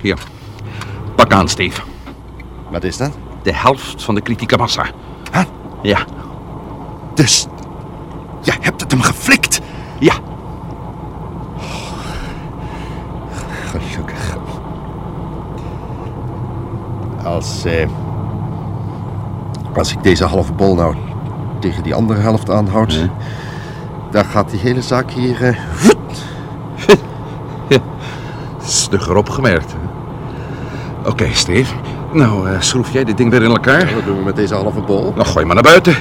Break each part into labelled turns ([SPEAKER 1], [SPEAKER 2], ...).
[SPEAKER 1] Hier. Pak aan, Steve.
[SPEAKER 2] Wat is dat?
[SPEAKER 1] De helft van de kritieke massa.
[SPEAKER 2] Huh?
[SPEAKER 1] Ja,
[SPEAKER 2] Dus. Je hebt het hem geflikt.
[SPEAKER 1] ja.
[SPEAKER 2] Gelukkig. Als. eh, als ik deze halve bol nou tegen die andere helft aanhoud. dan gaat die hele zaak hier. eh, voet.
[SPEAKER 1] Stugger opgemerkt. hè? Oké, Steve. Nou, eh, schroef jij dit ding weer in elkaar?
[SPEAKER 2] Wat doen we met deze halve bol?
[SPEAKER 1] Nou, gooi maar naar buiten.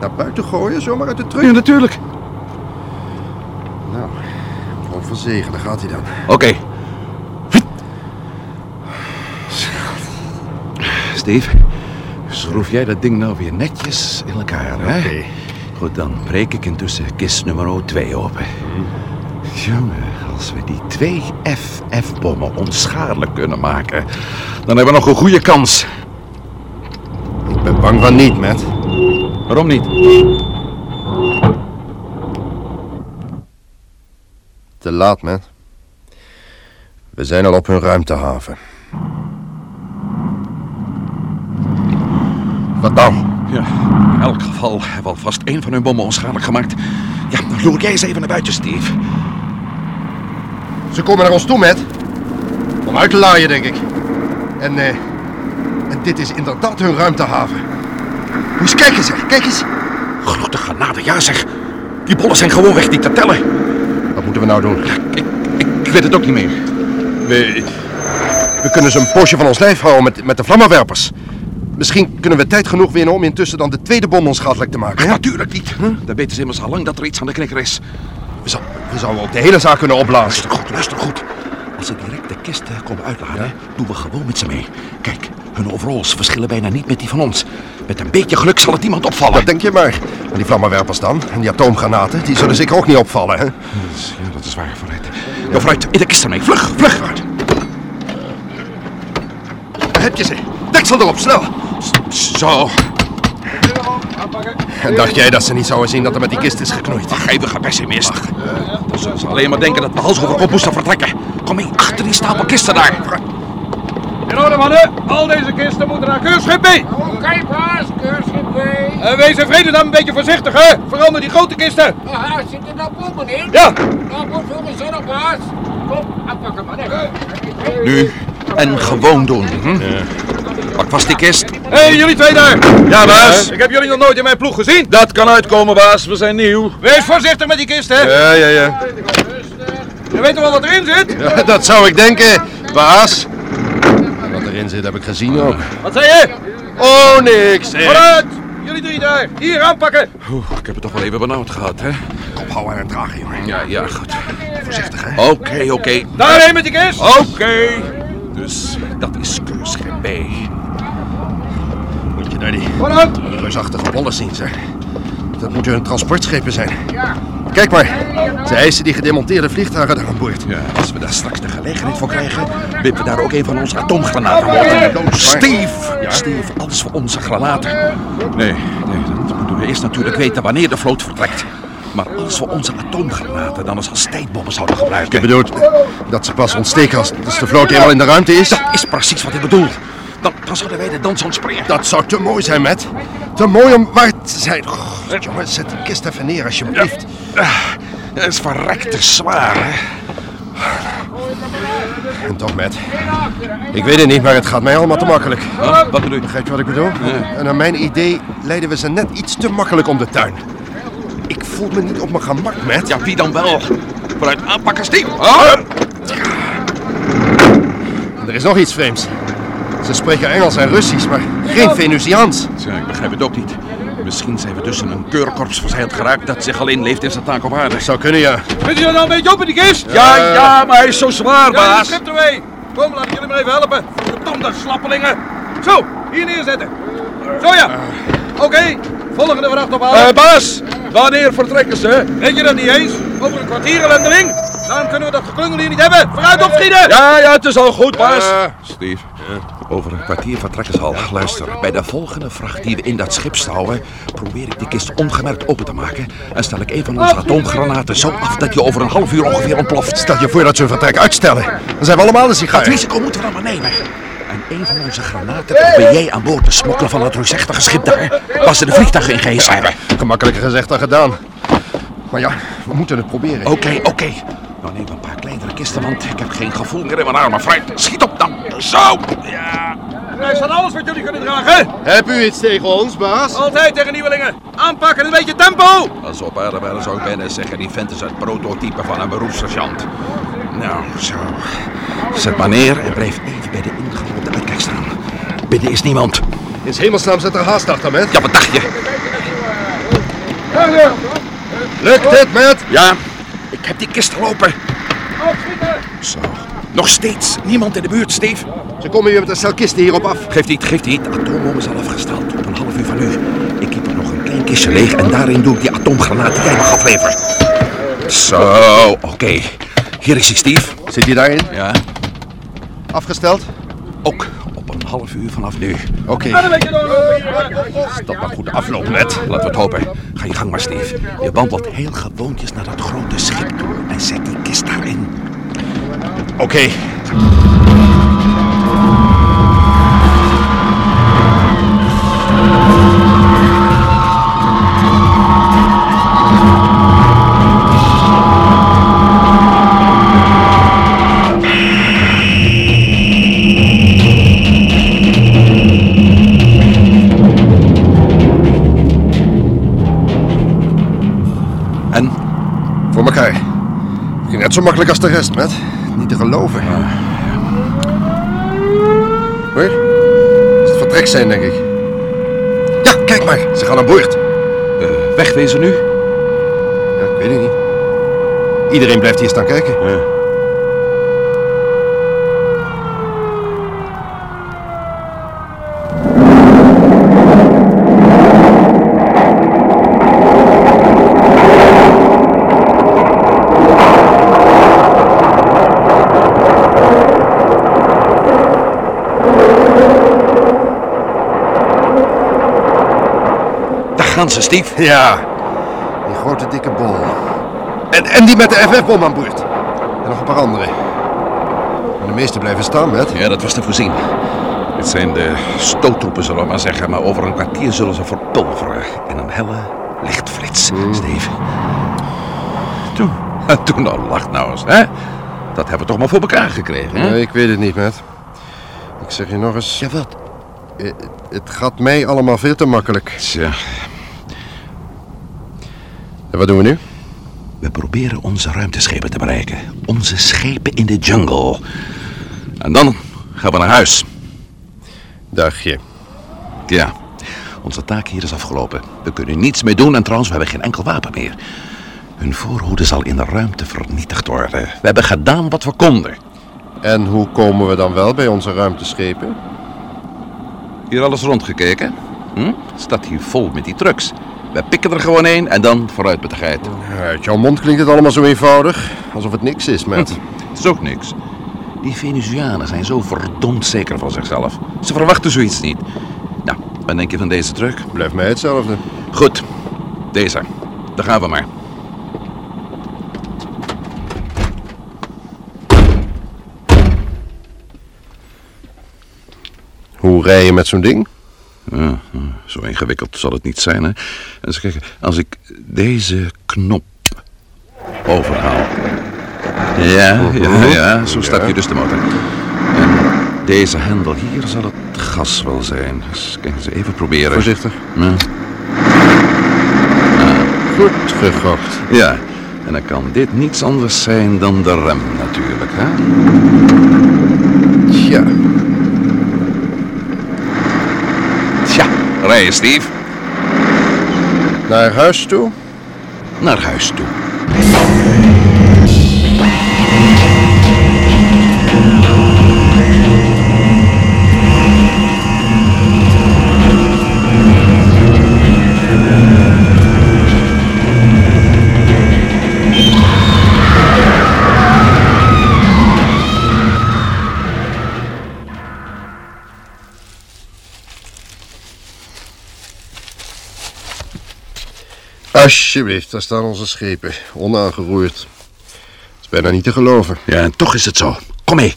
[SPEAKER 2] Naar buiten gooien, zomaar uit de truck.
[SPEAKER 1] Ja, natuurlijk.
[SPEAKER 2] Nou, gewoon van zegen, daar gaat hij dan.
[SPEAKER 1] Oké. Steve, schroef jij dat ding nou weer netjes in elkaar, hè?
[SPEAKER 2] Oké.
[SPEAKER 1] Goed, dan breek ik intussen kist nummer 2 open. Jongen, als we die twee FF-bommen onschadelijk kunnen maken, dan hebben we nog een goede kans.
[SPEAKER 2] Ik ben bang van niet, Matt.
[SPEAKER 1] Waarom niet?
[SPEAKER 2] Te laat, man. We zijn al op hun ruimtehaven. Wat dan?
[SPEAKER 1] Ja, in elk geval hebben we alvast één van hun bommen onschadelijk gemaakt. Ja, dan loer jij eens even naar buiten, Steve.
[SPEAKER 2] Ze komen naar ons toe, Matt. Om uit te laaien, denk ik. En, eh, en dit is inderdaad hun ruimtehaven. Moest kijken, zeg. Kijk eens.
[SPEAKER 1] Grote genade, ja zeg. Die bollen zijn gewoon weg niet te tellen.
[SPEAKER 2] Wat moeten we nou doen?
[SPEAKER 1] Ik, ik weet het ook niet meer.
[SPEAKER 2] We, we kunnen ze een poosje van ons lijf houden met, met de vlammenwerpers. Misschien kunnen we tijd genoeg winnen om intussen dan de tweede bom onschadelijk te maken. Hè?
[SPEAKER 1] Ah, Natuurlijk niet. Dan weten ze immers al lang dat er iets aan de knikker is.
[SPEAKER 2] We, zou- we zouden ook de hele zaak kunnen opblazen.
[SPEAKER 1] Luister goed, luister goed. Als ze direct de kisten komen uitladen, doen we gewoon met ze mee. Kijk, hun overalls verschillen bijna niet met die van ons. Met een beetje geluk zal het niemand opvallen.
[SPEAKER 2] Dat denk je maar. En die vlammenwerpers dan? En die atoomgranaten? Die zullen zeker ook niet opvallen, hè?
[SPEAKER 1] Ja, dat is waar, vooruit. Ja, vooruit, in de kisten mee. Vlug, vlug. Vooruit.
[SPEAKER 2] Daar heb je ze. Deksel erop, snel!
[SPEAKER 1] Zo,
[SPEAKER 2] En dacht jij dat ze niet zouden zien dat er met die kist is geknoeid?
[SPEAKER 1] eeuwige pessimist. Dan zullen ze alleen maar denken dat we hals over kop moesten vertrekken. Kom mee, achter die stapel kisten daar.
[SPEAKER 3] In orde, mannen. Al deze kisten moeten naar keurschip mee.
[SPEAKER 4] Oké, baas, keurschip mee.
[SPEAKER 3] En Eh, wees in vrede dan een beetje voorzichtig, hè. Verander die grote kisten.
[SPEAKER 4] Aha, zit er nou bommen in?
[SPEAKER 3] Ja.
[SPEAKER 4] Nou, moet veel gezellig, baas. Kom, aanpakken, mannen.
[SPEAKER 1] Nu en gewoon doen. Hm? Pak vast die kist.
[SPEAKER 3] Hé, jullie twee daar. Eh,
[SPEAKER 5] Ja, baas.
[SPEAKER 3] Ik heb jullie nog nooit in mijn ploeg gezien.
[SPEAKER 5] Dat kan uitkomen, baas. We zijn nieuw.
[SPEAKER 3] Wees voorzichtig met die kisten, hè.
[SPEAKER 2] Ja, ja, ja.
[SPEAKER 3] Je weet toch wel wat erin zit?
[SPEAKER 2] Dat zou ik denken, baas. En Wat erin zit heb ik gezien ook.
[SPEAKER 3] Wat zei je?
[SPEAKER 2] Oh, niks. Hè.
[SPEAKER 3] Vooruit. Jullie drie daar. Hier, aanpakken.
[SPEAKER 1] Oeh, ik heb het toch wel even benauwd gehad, hè?
[SPEAKER 2] Ophouden en dragen, jongen.
[SPEAKER 1] Ja, ja, goed. Voorzichtig, hè? Oké, oké.
[SPEAKER 3] Daarheen met die kist.
[SPEAKER 1] Oké. Dus dat is keurschip B.
[SPEAKER 2] Moet je daar die
[SPEAKER 3] Vooruit.
[SPEAKER 2] reusachtige bollen zien, zeg. Dat moeten hun transportschepen zijn. Kijk maar. Ze eisen die gedemonteerde vliegtuigen daar aan boord.
[SPEAKER 1] Ja, als we daar straks de gelegenheid voor krijgen, wippen we daar ook een van onze atoomgranaten op. Steve! Steve, alles voor onze granaten. Nee, nee, dat moeten we eerst natuurlijk weten wanneer de vloot vertrekt. Maar als we onze atoomgranaten dan eens als tijdbommen zouden
[SPEAKER 2] Je
[SPEAKER 1] gebruiken...
[SPEAKER 2] bedoelt dat ze pas ontsteken als, als de vloot eenmaal in de ruimte is?
[SPEAKER 1] Dat is precies wat ik bedoel. Dan, dan zouden wij de dans ontspringen.
[SPEAKER 2] Dat zou te mooi zijn, Matt. Te mooi om waar te zijn. God, jongen, zet die kist even neer, alsjeblieft.
[SPEAKER 1] Dat is verrekte zwaar, hè?
[SPEAKER 2] En toch, Matt. Ik weet het niet, maar het gaat mij allemaal te makkelijk.
[SPEAKER 1] Wat bedoel je?
[SPEAKER 2] Begrijp je wat ik bedoel? En naar mijn idee leiden we ze net iets te makkelijk om de tuin. Ik voel me niet op mijn gemak, Matt.
[SPEAKER 1] Ja, wie dan wel? Vooruit aanpakken, Steve. Hup.
[SPEAKER 2] er is nog iets vreemds. Ze spreken Engels en Russisch, maar geen Venusiaans.
[SPEAKER 1] Tja, ik begrijp het ook niet. Misschien zijn we tussen een keurkorps verzeild geraakt dat zich alleen leeft in zijn taak op aarde.
[SPEAKER 2] Zou kunnen, ja.
[SPEAKER 3] Kunt u er nou een beetje open, die kist?
[SPEAKER 1] Ja, ja, maar hij is zo zwaar,
[SPEAKER 3] Ja, die
[SPEAKER 1] baas.
[SPEAKER 3] schip ermee. Kom, laat ik jullie maar even helpen. Verdomde slappelingen. Zo, hier neerzetten. Zo ja. Oké, volgende vracht ophalen.
[SPEAKER 5] Eh, baas, wanneer vertrekken ze?
[SPEAKER 3] Weet je dat niet eens? Over een kwartier ellendeling. Daarom kunnen we dat geklungel hier niet hebben. Vooruit opschieten! Eh.
[SPEAKER 5] Ja, ja, het is al goed, baas.
[SPEAKER 1] Steve, over een kwartier vertrekken ze al. Luister, bij de volgende vracht die we in dat schip stouwen, probeer ik die kist ongemerkt open te maken en stel ik een van onze atoomgranaten zo af dat je over een half uur ongeveer ontploft.
[SPEAKER 2] Stel je voor dat ze hun vertrek uitstellen. Dan zijn we allemaal de sigaar.
[SPEAKER 1] Dat risico moeten we dan maar nemen. En een van onze granaten probeer jij aan boord te smokkelen van dat reusachtige schip daar, waar ze de vliegtuigen in gehezen hebben.
[SPEAKER 2] Gemakkelijker gezegd dan gedaan. Maar ja, we moeten het proberen.
[SPEAKER 1] Oké, oké. Nou neem een paar kleinere kisten, want ik heb geen gevoel meer in mijn armen. Fruit, schiet op dan. Zo! Ja.
[SPEAKER 3] Wij staan alles wat jullie kunnen dragen.
[SPEAKER 2] Heb u iets tegen ons, baas?
[SPEAKER 3] Altijd tegen nieuwelingen. Aanpakken, een beetje tempo.
[SPEAKER 1] Als we op aarde waren, zou ik bijna zeggen, die vent is het prototype van een beroepssergeant. Nou, zo. Zet maar neer en blijf even bij de ingang op de uitkijk staan. Binnen is niemand.
[SPEAKER 2] In hemelsnaam zit er haast achter, met.
[SPEAKER 1] Ja, wat dacht je?
[SPEAKER 2] Lukt dit, met?
[SPEAKER 1] Ja, ik heb die kist gelopen.
[SPEAKER 3] Opschieten.
[SPEAKER 1] Zo. Nog steeds niemand in de buurt, Steve.
[SPEAKER 2] Ze komen hier met een stel kisten hierop af.
[SPEAKER 1] Geeft niet, geeft niet. De atoombom is al afgesteld op een half uur van nu. Ik heb er nog een klein kistje leeg en daarin doe ik die atoomgranaat die jij mag afleveren. Zo, oké. Hier is hij, Steve.
[SPEAKER 2] Zit hij daarin?
[SPEAKER 1] Ja.
[SPEAKER 2] Afgesteld?
[SPEAKER 1] Ook op een half uur vanaf nu.
[SPEAKER 2] Oké.
[SPEAKER 3] Een beetje doorlopen hier.
[SPEAKER 1] Dat maar goed afloop, net. Laten we het hopen. Ga je gang maar, Steve. Je wandelt heel gewoontjes naar dat grote schip toe en zet die kist daarin.
[SPEAKER 2] Oké.
[SPEAKER 1] En?
[SPEAKER 2] Voor elkaar. Ging Net zo makkelijk als de rest, met. Niet te geloven. Hoor? Het is het vertrek zijn, denk ik. Ja, kijk maar. Ze gaan aan boord.
[SPEAKER 1] eh, wegwezen nu?
[SPEAKER 2] Ja, ik weet het niet. Iedereen blijft hier staan kijken.
[SPEAKER 1] Daar gaan ze, Steve.
[SPEAKER 2] Ja. Die grote dikke bol. En, en die met de FF-bom aan boord. En nog een paar andere. Maar de meeste blijven staan, met.
[SPEAKER 1] Ja, dat was te voorzien. Dit zijn de stoottroepen, zullen we maar zeggen. Maar over een kwartier zullen ze verpulveren in een helle lichtflits, Steve. Hmm. Toen, toen nou, lacht nou eens, hè? Dat hebben we toch maar voor elkaar gekregen, hè?
[SPEAKER 2] Nee, ik weet het niet, met. Ik zeg je nog eens.
[SPEAKER 1] Ja, wat?
[SPEAKER 2] eh, Het gaat mij allemaal veel te makkelijk.
[SPEAKER 1] Tja,
[SPEAKER 2] En wat doen we nu?
[SPEAKER 1] We proberen onze ruimteschepen te bereiken. Onze schepen in de jungle. En dan gaan we naar huis.
[SPEAKER 2] Dagje.
[SPEAKER 1] Ja. Onze taak hier is afgelopen. We kunnen niets meer doen en trouwens, we hebben geen enkel wapen meer. Hun voorhoede zal in de ruimte vernietigd worden. We hebben gedaan wat we konden.
[SPEAKER 2] En hoe komen we dan wel bij onze ruimteschepen?
[SPEAKER 1] Hier alles rondgekeken? Hm? Staat hier vol met die trucks. We pikken er gewoon een en dan vooruit met de geit.
[SPEAKER 2] Uit jouw mond klinkt het allemaal zo eenvoudig. Alsof het niks is, met.
[SPEAKER 1] Het is ook niks. Die Venusianen zijn zo verdomd zeker van zichzelf. Ze verwachten zoiets niet. Nou, wat denk je van deze truc?
[SPEAKER 2] Blijft mij hetzelfde.
[SPEAKER 1] Goed, deze. Daar gaan we maar.
[SPEAKER 2] Hoe rij je met zo'n ding?
[SPEAKER 1] Ja, zo ingewikkeld zal het niet zijn, hè? En ze kijken, als ik deze knop overhaal. Ja, ja, ja, zo start je dus de motor. En deze hendel hier zal het gas wel zijn. Dus kijken ze even proberen.
[SPEAKER 2] Voorzichtig.
[SPEAKER 1] Ja.
[SPEAKER 2] Goed gegokt.
[SPEAKER 1] Ja, en dan kan dit niets anders zijn dan de rem natuurlijk, hè?
[SPEAKER 2] Tja.
[SPEAKER 1] Tja, rijden, Steve.
[SPEAKER 2] Naar huis toe?
[SPEAKER 1] Naar huis toe.
[SPEAKER 2] Alsjeblieft, daar staan onze schepen. Onaangeroerd. Het is bijna niet te geloven.
[SPEAKER 1] Ja, en toch is het zo. Kom mee.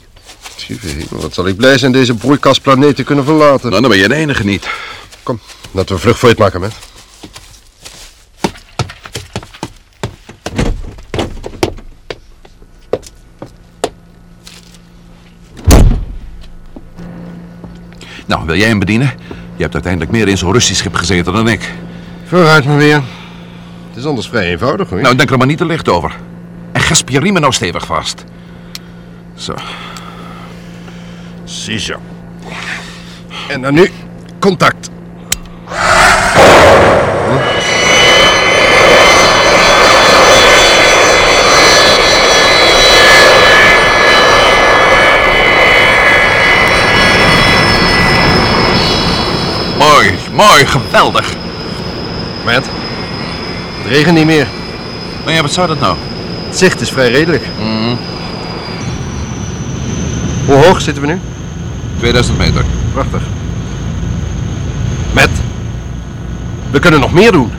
[SPEAKER 2] Lieve hemel, wat zal ik blij zijn deze broeikasplaneet te kunnen verlaten.
[SPEAKER 1] Nou, dan ben je de enige niet.
[SPEAKER 2] Kom, laten we vlug vooruit maken, man.
[SPEAKER 1] Nou, wil jij hem bedienen? Je hebt uiteindelijk meer in zo'n Russisch schip gezeten dan ik.
[SPEAKER 2] Vooruit maar weer. Het is anders vrij eenvoudig, hoor.
[SPEAKER 1] Nou, denk er maar niet te licht over. En gesp je riemen nou stevig vast. Zo.
[SPEAKER 2] ziezo. En dan nu, contact.
[SPEAKER 1] Mooi, mooi, geweldig.
[SPEAKER 2] Matt, het regent niet meer.
[SPEAKER 1] Nou ja, wat zou dat nou?
[SPEAKER 2] Het zicht is vrij redelijk.
[SPEAKER 1] Mhm.
[SPEAKER 2] Hoe hoog zitten we nu?
[SPEAKER 1] 2000 meter.
[SPEAKER 2] Prachtig. Matt, we kunnen nog meer doen.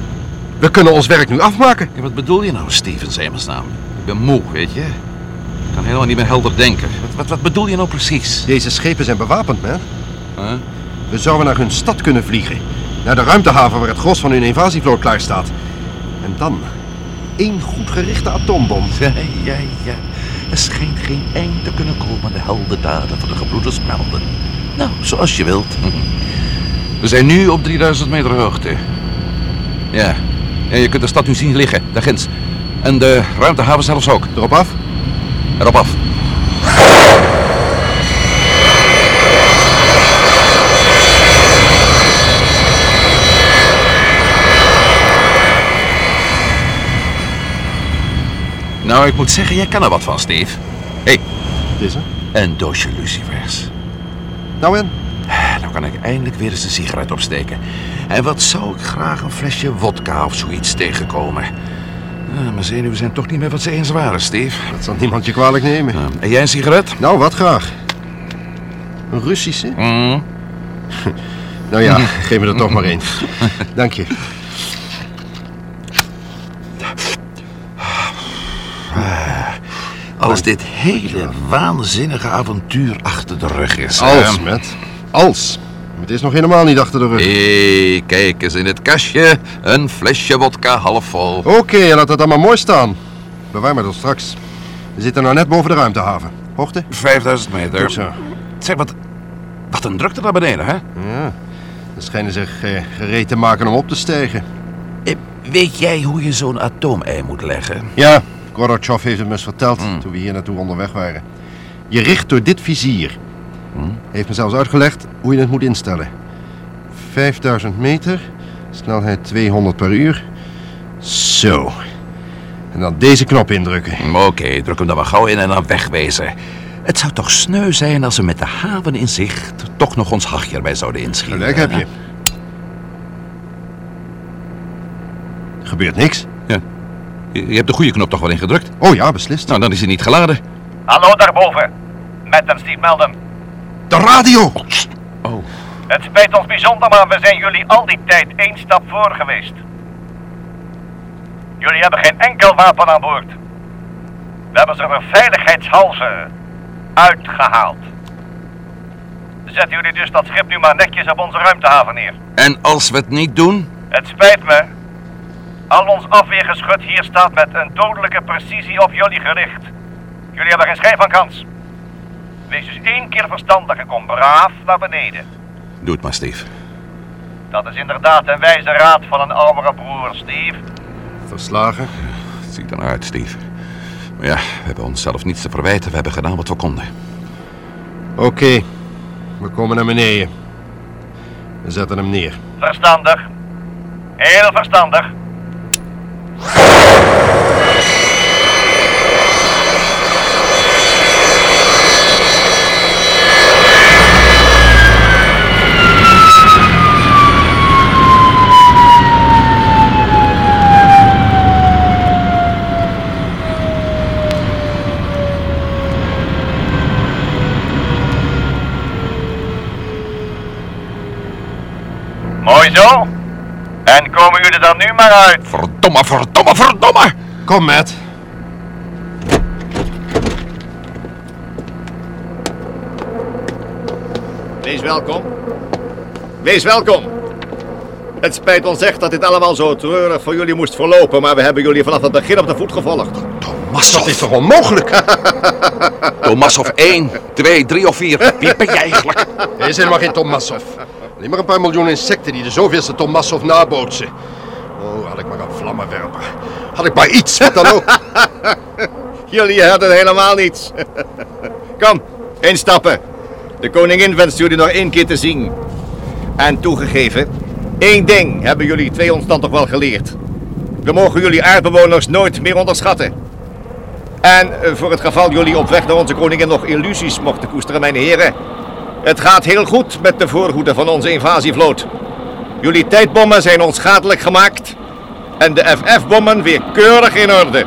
[SPEAKER 2] We kunnen ons werk nu afmaken.
[SPEAKER 1] Ja, wat bedoel je nou, Stevens, hemelsnaam? Ik ben moe, weet je? Ik kan helemaal niet meer helder denken. Wat, wat, wat bedoel je nou precies?
[SPEAKER 2] Deze schepen zijn bewapend, man.
[SPEAKER 1] Huh?
[SPEAKER 2] We zouden naar hun stad kunnen vliegen. Naar de ruimtehaven waar het gros van hun invasievloot klaar staat. En dan één goed gerichte atoombom.
[SPEAKER 1] Ja, ja, ja. Er schijnt geen eind te kunnen komen aan de heldendaden van de gebroeders Melden. Nou, zoals je wilt. We zijn nu op 3000 meter hoogte. Ja. ja je kunt de stad nu zien liggen, daar ginds. En de ruimtehaven zelfs ook.
[SPEAKER 2] Erop af.
[SPEAKER 1] Erop af. Nou, ik moet zeggen, jij kan er wat van, Steve. Hé, hey,
[SPEAKER 2] Dit hè?
[SPEAKER 1] een doosje lucifers.
[SPEAKER 2] Nou en?
[SPEAKER 1] Nou kan ik eindelijk weer eens een sigaret opsteken. En wat zou ik graag een flesje wodka of zoiets tegenkomen. Ah, mijn zenuwen zijn toch niet meer wat ze eens waren, Steve.
[SPEAKER 2] Dat zal niemand je kwalijk nemen.
[SPEAKER 1] Ah, en jij een sigaret?
[SPEAKER 2] Nou, wat graag. Een Russische? Nou ja, geef me er toch maar één. Dank je.
[SPEAKER 1] Als dit hele waanzinnige avontuur achter de rug is.
[SPEAKER 2] Als,
[SPEAKER 1] hè?
[SPEAKER 2] Matt. Als. Het is nog helemaal niet achter de rug.
[SPEAKER 1] Hé, kijk eens in het kastje. Een flesje wodka half vol.
[SPEAKER 2] Oké, laat dat dan maar mooi staan. Bewaar maar tot straks. We zitten nou net boven de ruimtehaven. Hoogte?
[SPEAKER 1] 5000 meter.
[SPEAKER 2] Goed zo.
[SPEAKER 1] Zeg, wat, wat een drukte naar beneden, hè?
[SPEAKER 2] Ja. Ze schijnen zich eh, gereed te maken om op te stijgen.
[SPEAKER 1] Eh, Weet jij hoe je zo'n atoomei moet leggen?
[SPEAKER 2] Ja, Gorbachev heeft het me eens verteld toen we hier naartoe onderweg waren. Je richt door dit vizier. Hij heeft me zelfs uitgelegd hoe je het moet instellen. 5000 meter, snelheid 200 per uur. Zo. En dan deze knop indrukken.
[SPEAKER 1] Mm, Oké, druk hem dan maar gauw in en dan wegwezen. Het zou toch sneu zijn als we met de haven in zicht toch nog ons hachje erbij zouden inschieten.
[SPEAKER 2] Gelijk heb je. Er gebeurt niks.
[SPEAKER 1] Je je hebt de goede knop toch wel ingedrukt?
[SPEAKER 2] Oh ja, beslist.
[SPEAKER 1] Nou, dan is hij niet geladen.
[SPEAKER 6] Hallo daarboven. Met hem Steve Melden.
[SPEAKER 2] De radio!
[SPEAKER 1] Oh.
[SPEAKER 6] Het spijt ons bijzonder, maar we zijn jullie al die tijd één stap voor geweest. Jullie hebben geen enkel wapen aan boord. We hebben ze voor veiligheidshalzen uitgehaald. Zetten jullie dus dat schip nu maar netjes op onze ruimtehaven neer.
[SPEAKER 1] En als we het niet doen?
[SPEAKER 6] Het spijt me. Al ons afweergeschut hier staat met een dodelijke precisie op jullie gericht. Jullie hebben geen schijn van kans. Wees dus één keer verstandig en kom braaf naar beneden.
[SPEAKER 1] Doe het maar, Steve.
[SPEAKER 6] Dat is inderdaad een wijze raad van een oudere broer, Steve.
[SPEAKER 2] Verslagen.
[SPEAKER 1] Het ziet er nou naar uit, Steve. Maar ja, we hebben onszelf niets te verwijten. We hebben gedaan wat we konden.
[SPEAKER 2] Oké, we komen naar beneden. We zetten hem neer.
[SPEAKER 6] Verstandig. Heel verstandig. Mooi zo. En komen jullie er nu maar uit.
[SPEAKER 1] Verdomme, verdomme, verdomme!
[SPEAKER 2] Kom, Matt.
[SPEAKER 7] Wees welkom. Wees welkom. Het spijt ons echt dat dit allemaal zo treurig voor jullie moest verlopen, maar we hebben jullie vanaf het begin op de voet gevolgd.
[SPEAKER 1] Tomasov.
[SPEAKER 2] Dat is toch onmogelijk?
[SPEAKER 1] Tomasov 1, 2, 3 of 4. Wie ben jij eigenlijk?
[SPEAKER 2] Er is helemaal geen Tomassov. Alleen maar een paar miljoen insecten die de zoveelste Tomassov nabootsen. Oh, had ik maar een vlammenwerper. Had ik maar iets, wat dan ook.
[SPEAKER 7] Jullie hadden helemaal niets. Kom, instappen. De koningin wenst jullie nog één keer te zien. En toegegeven, één ding hebben jullie twee ons dan toch wel geleerd. We mogen jullie aardbewoners nooit meer onderschatten. En eh, voor het geval jullie op weg naar onze koningin nog illusies mochten koesteren, mijn heren. Het gaat heel goed met de voorhoede van onze invasievloot. Jullie tijdbommen zijn onschadelijk gemaakt. En de FF-bommen weer keurig in orde.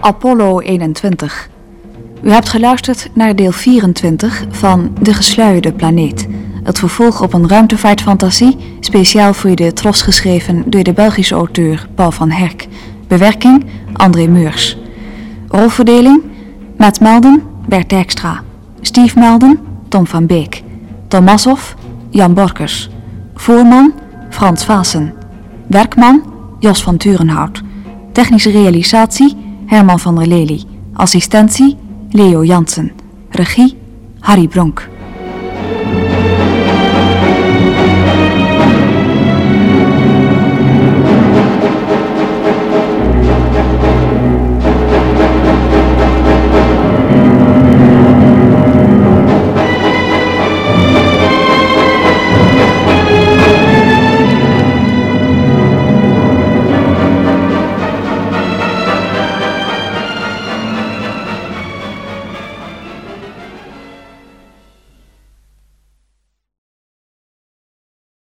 [SPEAKER 8] Apollo 21. U hebt geluisterd naar deel 24 van De Gesluierde Planeet. Het vervolg op een ruimtevaartfantasie, speciaal voor de Tros geschreven door de Belgische auteur Paul van Herk. Bewerking André Meurs. Rolverdeling Maat Melden, Bert Dijkstra. Steve Melden, Tom van Beek. Tomasov, Jan Borkers. Voorman, Frans Vaassen. Werkman, Jos van Turenhout. Technische realisatie, Herman van der Lely. Assistentie, Leo Jansen. Regie, Harry Bronk.